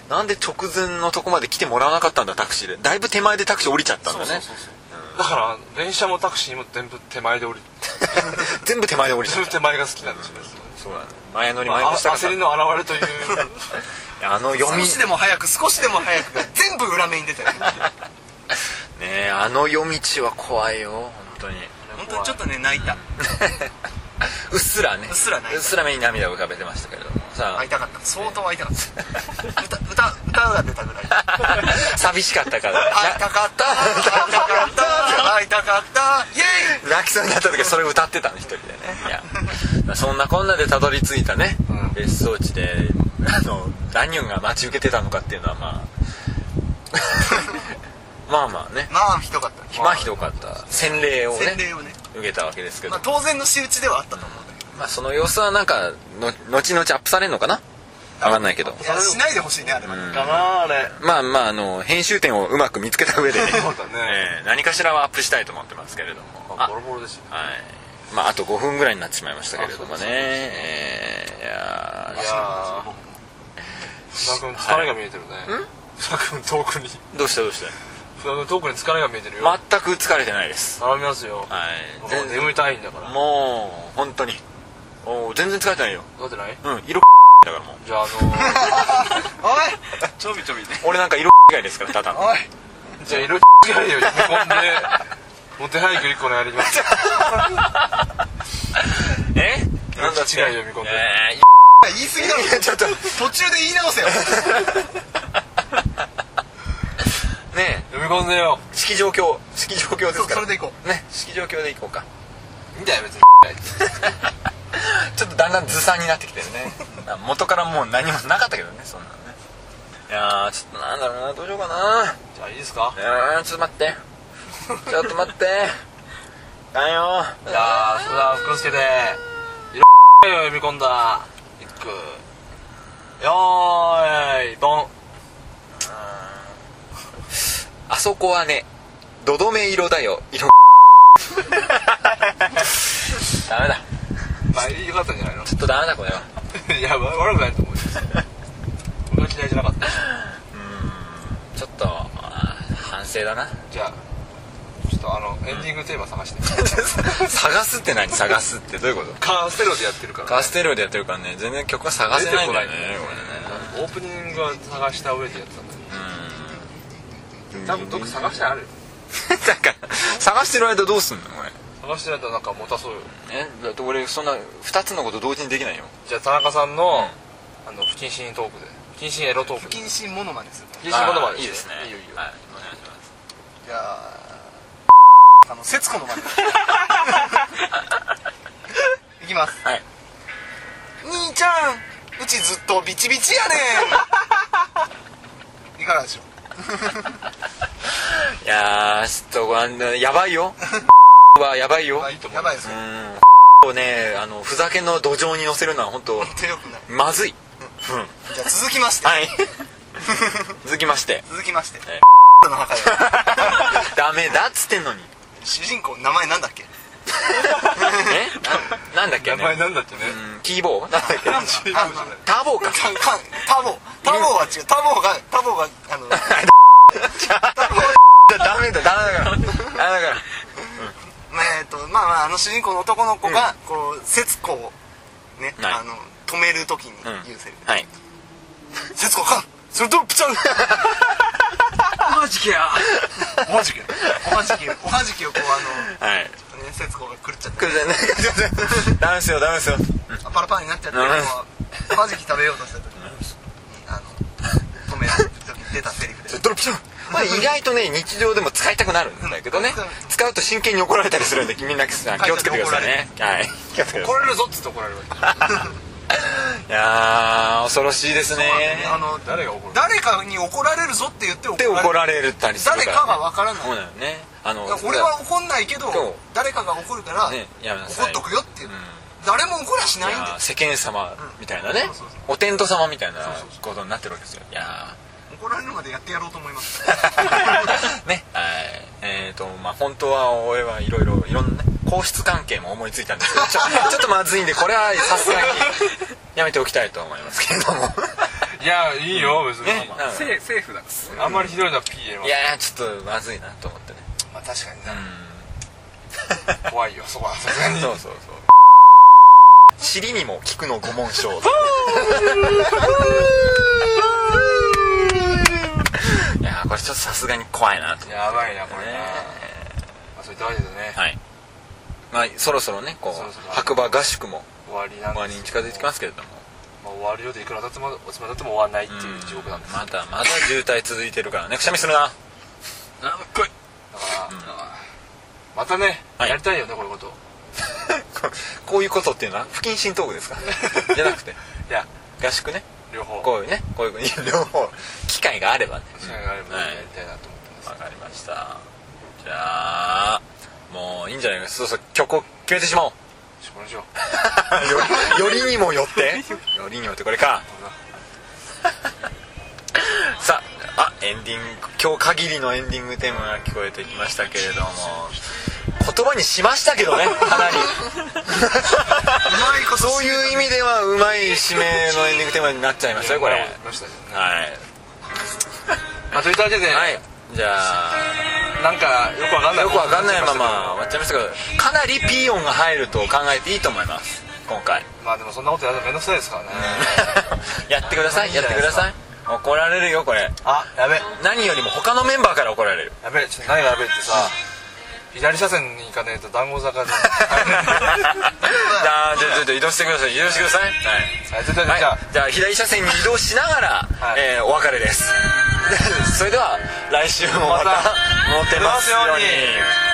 [SPEAKER 3] なんで直前のとこまで来てもらわなかったんだタクシーでだいぶ手前でタクシー降りちゃったんだね
[SPEAKER 4] だから電車もタクシーも全部手前で降り
[SPEAKER 3] 全部手前で降りちゃ
[SPEAKER 4] 全
[SPEAKER 3] っ
[SPEAKER 4] 部
[SPEAKER 3] た
[SPEAKER 4] 手前が好きなんですよね
[SPEAKER 3] そうだね前乗り
[SPEAKER 4] ま
[SPEAKER 3] 前
[SPEAKER 4] あ、あ
[SPEAKER 3] 乗したかった
[SPEAKER 4] 焦りの表れという
[SPEAKER 3] あの読み
[SPEAKER 5] 少しでも早く少しでも早く全部裏目に出たよ
[SPEAKER 3] ねえあの夜道は怖いよ本当に
[SPEAKER 5] 本当にちょっとね泣いた
[SPEAKER 3] うっすらね
[SPEAKER 5] うっすらね
[SPEAKER 3] うっすら目に涙を浮かべてましたけれどもさ
[SPEAKER 5] 会いたかった相当会いたかった歌歌歌が出たぐ らい会
[SPEAKER 3] あ寂しかったから
[SPEAKER 5] いたかった会いたか った会いたかったイエイ
[SPEAKER 3] 泣きそうになった時はそれを歌ってたの一人でねいやまあそんなこんなでたどり着いたね、
[SPEAKER 4] ん
[SPEAKER 3] 別荘地であのダニュンが待ち受けてたのかっていうのはまあまあまあね
[SPEAKER 5] まあひどかったね
[SPEAKER 3] まあひどかった洗礼をね
[SPEAKER 5] 洗礼をね
[SPEAKER 3] 受けたわけですけど、
[SPEAKER 5] まあ
[SPEAKER 3] ま
[SPEAKER 5] 当然の仕打ちではあったと思うんだけど
[SPEAKER 3] あ、その様子はなんかの後々アップされるのかなわかんないけど
[SPEAKER 5] いやしないでほしいねあれは ね
[SPEAKER 4] かなあれ
[SPEAKER 3] まあまああの編集点をうまく見つけた上で、ね
[SPEAKER 4] そうだね、
[SPEAKER 3] えー何かしらはアップしたいと思ってますけれども
[SPEAKER 4] まあボロボロですよね
[SPEAKER 3] はい。まあ、あと5分ぐらいになってしまいましたけれどもね。えー、いや
[SPEAKER 4] いやー福田君疲れが見えてるね、福田君遠くに
[SPEAKER 3] ーどうしたどうした
[SPEAKER 4] 福田君遠くに疲れが見えてるよ、
[SPEAKER 3] 全く疲れてないです。
[SPEAKER 4] 頼みますよ、
[SPEAKER 3] はい。
[SPEAKER 4] もう
[SPEAKER 3] 全然
[SPEAKER 4] 眠たいんだから
[SPEAKER 3] もう、本当に。おー全然疲れてないよ。
[SPEAKER 4] だってない
[SPEAKER 3] うん、色だからもう。
[SPEAKER 4] じゃああのー
[SPEAKER 5] ちょびちょびね
[SPEAKER 3] 俺なんか色以外ですから、ただの。
[SPEAKER 5] おい
[SPEAKER 4] じゃあ色違いを埋め込んでモテ俳句1個のやり ます
[SPEAKER 3] え
[SPEAKER 4] なんだ違いを読み込んで
[SPEAKER 3] えー
[SPEAKER 5] 言い過ぎだろ
[SPEAKER 3] ちょっと、
[SPEAKER 5] 途中で言い直せよ
[SPEAKER 3] ね
[SPEAKER 4] 読み込んでよ
[SPEAKER 3] え、式状況、式状況です
[SPEAKER 5] そ
[SPEAKER 3] か
[SPEAKER 5] そ
[SPEAKER 3] ら
[SPEAKER 5] れ。でいこ
[SPEAKER 3] ね、式状況でいこうか。
[SPEAKER 4] いいんだよ別に
[SPEAKER 3] ちょっとだんだんずさんになってきてる ね元からもう何もなかったけどねそんなのねいやーちょっとなんだろうなどうしようかな
[SPEAKER 4] じゃあいいですか
[SPEAKER 3] いやーちょっと待ってちょっと待ってだよ
[SPEAKER 4] じゃあそれでは福之助で色違いを読み込んだ一句よーいドン
[SPEAKER 3] あそこはねどどめ色だよ 色ダメだ
[SPEAKER 4] まあよかったんじゃないの
[SPEAKER 3] ちょっとダメだこれはい
[SPEAKER 4] や悪 くないと思うよ俺は嫌いじゃなかった
[SPEAKER 3] ちょっとあー反省だな
[SPEAKER 4] じゃあちょっとあのエンディングテーマ探して
[SPEAKER 3] 探すって何探すってどういうこと
[SPEAKER 4] カーステロでやってるから
[SPEAKER 3] カステレオでやってるからね全然曲が探せないんだよね
[SPEAKER 4] オープニングは探した上でやってたんだけ
[SPEAKER 3] これね
[SPEAKER 4] ど多分どっか探してあるよ
[SPEAKER 3] だから探してる間どうすんのこれ
[SPEAKER 4] 探してないとなんか持たそうよ
[SPEAKER 3] えだって俺そんな2つのこと同時にできないよ
[SPEAKER 4] じゃあ田中さんの,、あの不謹慎トークで不謹慎エロトーク
[SPEAKER 5] う
[SPEAKER 4] で
[SPEAKER 5] 謹慎モノマネする
[SPEAKER 4] 不謹慎言葉で
[SPEAKER 3] いいですね
[SPEAKER 4] いいよいいよ、
[SPEAKER 3] はいお願いします
[SPEAKER 5] じゃああの節子のマ ネいきます
[SPEAKER 3] はい
[SPEAKER 5] 兄ちゃんうちずっとビチビチやねんいかがでしょう
[SPEAKER 3] いやーちょっとあのやばいよ はやばいよ
[SPEAKER 4] あいいと思う
[SPEAKER 5] やばいです
[SPEAKER 3] う
[SPEAKER 5] ね
[SPEAKER 3] んをねあのふざけの土壌に乗せるのは本当
[SPEAKER 5] ほんとよくない
[SPEAKER 3] まずい
[SPEAKER 5] じゃあ続きまして、
[SPEAKER 3] はい 続きまして
[SPEAKER 5] 続きまして、
[SPEAKER 3] え
[SPEAKER 5] の墓よ
[SPEAKER 3] ダメだっつってんのに
[SPEAKER 5] 主人公名前なん だっけ
[SPEAKER 3] えななんだっけ
[SPEAKER 4] 名前
[SPEAKER 3] ね
[SPEAKER 4] なんだってね
[SPEAKER 3] うんキーボーなんだっけ
[SPEAKER 4] 知
[SPEAKER 5] あ
[SPEAKER 4] らん
[SPEAKER 5] の
[SPEAKER 4] 知らん
[SPEAKER 3] タボーか
[SPEAKER 5] タタタボタボは違うタボがタボがあの
[SPEAKER 3] ダメだダメだからダメだから
[SPEAKER 5] まあえっとまあまああの主人公の男の子が、こう節子をね、
[SPEAKER 3] はい
[SPEAKER 5] あの止めるときに言うセリフ、
[SPEAKER 3] はい
[SPEAKER 5] 節子あかんそれドロップちゃうおはじけやおはじけおはじけおはじけをこうあ
[SPEAKER 3] はい
[SPEAKER 5] のね節子が狂っちゃって
[SPEAKER 3] これじゃないダメですよダメですよ
[SPEAKER 5] あパラパラになっちゃって
[SPEAKER 3] うん
[SPEAKER 5] こうおはじき食べようとしたときにあの止めるときに出たセリフで
[SPEAKER 3] ドロップションまあ意外とね日常でも使いたくなるんだけどね
[SPEAKER 5] うん
[SPEAKER 3] 使うと真剣に怒られたりするんでみんな気をつけてくださいねはい気をつけてく
[SPEAKER 4] 怒ら
[SPEAKER 3] ださ
[SPEAKER 4] れるぞっつって怒られるわけ
[SPEAKER 3] いいやー恐ろしいですね
[SPEAKER 5] あの
[SPEAKER 4] 誰が怒る
[SPEAKER 5] 誰かに怒られるぞって言って怒
[SPEAKER 3] で
[SPEAKER 5] られ
[SPEAKER 3] 怒
[SPEAKER 5] る
[SPEAKER 3] られたりするから
[SPEAKER 5] 誰かがわからない
[SPEAKER 3] そうだよねあの
[SPEAKER 5] 俺は怒んないけど
[SPEAKER 3] そう
[SPEAKER 5] 誰かが怒るから
[SPEAKER 3] ねやめなさい
[SPEAKER 5] 怒っとくよっていう
[SPEAKER 3] うん
[SPEAKER 5] 誰も怒りゃしないん
[SPEAKER 3] い
[SPEAKER 5] だ
[SPEAKER 3] や
[SPEAKER 5] よ
[SPEAKER 3] 世間様みたいなね
[SPEAKER 5] そうそう、
[SPEAKER 3] お天道様みたいな
[SPEAKER 5] そうそ
[SPEAKER 3] ことになってるわけですよいや
[SPEAKER 5] 怒られるまでやってやろうと思います
[SPEAKER 3] ーねはいえっ、とまあ本当は俺はいろいろいろんなね皇室関係も思いついたんですけど ちょちょっとまずいんでこれはさすがにやめておきたいと思いますけれ ども
[SPEAKER 4] いやいいよ別に、
[SPEAKER 3] ねなんか
[SPEAKER 6] セーセーフだか
[SPEAKER 4] あんまりひどいのは P 入れま
[SPEAKER 3] い
[SPEAKER 4] す
[SPEAKER 3] やーちょっとまずいなと思ってね
[SPEAKER 4] まあ確かに
[SPEAKER 3] う
[SPEAKER 4] なん怖いよ そこはさすがに
[SPEAKER 3] そうそうそう尻にも効くの五文章いやーこれちょっとさすがに怖いなと
[SPEAKER 4] やばいなこれな、
[SPEAKER 3] ね
[SPEAKER 4] まあ、そういったわけでね、
[SPEAKER 3] はいまあそろそろねこう
[SPEAKER 4] そろそろ
[SPEAKER 3] 白馬合宿も
[SPEAKER 4] 終わりなん
[SPEAKER 3] 終わ
[SPEAKER 4] で
[SPEAKER 3] りに
[SPEAKER 4] す、
[SPEAKER 3] 近づいてきますすけれども
[SPEAKER 4] まあ、終わるようでいくら経ってもおつまり経っても終わらないっていう地獄なんです、
[SPEAKER 3] まだまだ渋滞続いてるからねくしゃみするな
[SPEAKER 6] らあ来い
[SPEAKER 4] だから、またね、
[SPEAKER 3] はい
[SPEAKER 4] やりたいよねこういうこと
[SPEAKER 3] こういうことっていうのは不謹慎トーク ですかじゃなくて
[SPEAKER 4] いや
[SPEAKER 3] 合宿ね
[SPEAKER 4] 両方
[SPEAKER 3] こういうねこういう 両方機会があればね
[SPEAKER 4] 試合があれば
[SPEAKER 3] はい
[SPEAKER 4] やりたいなと思ってます、
[SPEAKER 3] わかりましたじゃあもういいんじゃないかそうそう曲を決めてしまおう
[SPEAKER 4] しましょう
[SPEAKER 3] よりよりにもよってよりにもよってこれか さああエンディング今日限りのエンディングテーマが聞こえてきましたけれども言葉にしましたけどねかなり そういう意味ではうまい締めのエンディングテーマになっちゃいましたよこれ
[SPEAKER 4] や
[SPEAKER 3] は
[SPEAKER 4] りましたね
[SPEAKER 3] い、
[SPEAKER 4] まあといったわけで、
[SPEAKER 3] はい、じゃあ
[SPEAKER 4] なんかよくわかんない
[SPEAKER 3] よくわかんないまま終わっちゃいましたけどかなりピー音が入ると考えていいと思います今回
[SPEAKER 4] まあでもそんなことやるのめんどくさいですからね
[SPEAKER 3] やってくださいやってください怒られるよこれ
[SPEAKER 4] あやべ
[SPEAKER 3] 何よりも他のメンバーから怒られる
[SPEAKER 4] やべちょっと何がやべってさ 左車線に行かねえと団子坂で
[SPEAKER 3] あーじゃあちょっと移動してください移動してください
[SPEAKER 4] はいといったわけ
[SPEAKER 3] は
[SPEAKER 4] で
[SPEAKER 3] い、
[SPEAKER 4] じゃあ
[SPEAKER 3] はい、じゃあ左車線に移動しながら、
[SPEAKER 4] はい
[SPEAKER 3] えーお 別れですそれでは来週もまた
[SPEAKER 4] また
[SPEAKER 3] モテますよう
[SPEAKER 4] モテますよう
[SPEAKER 3] に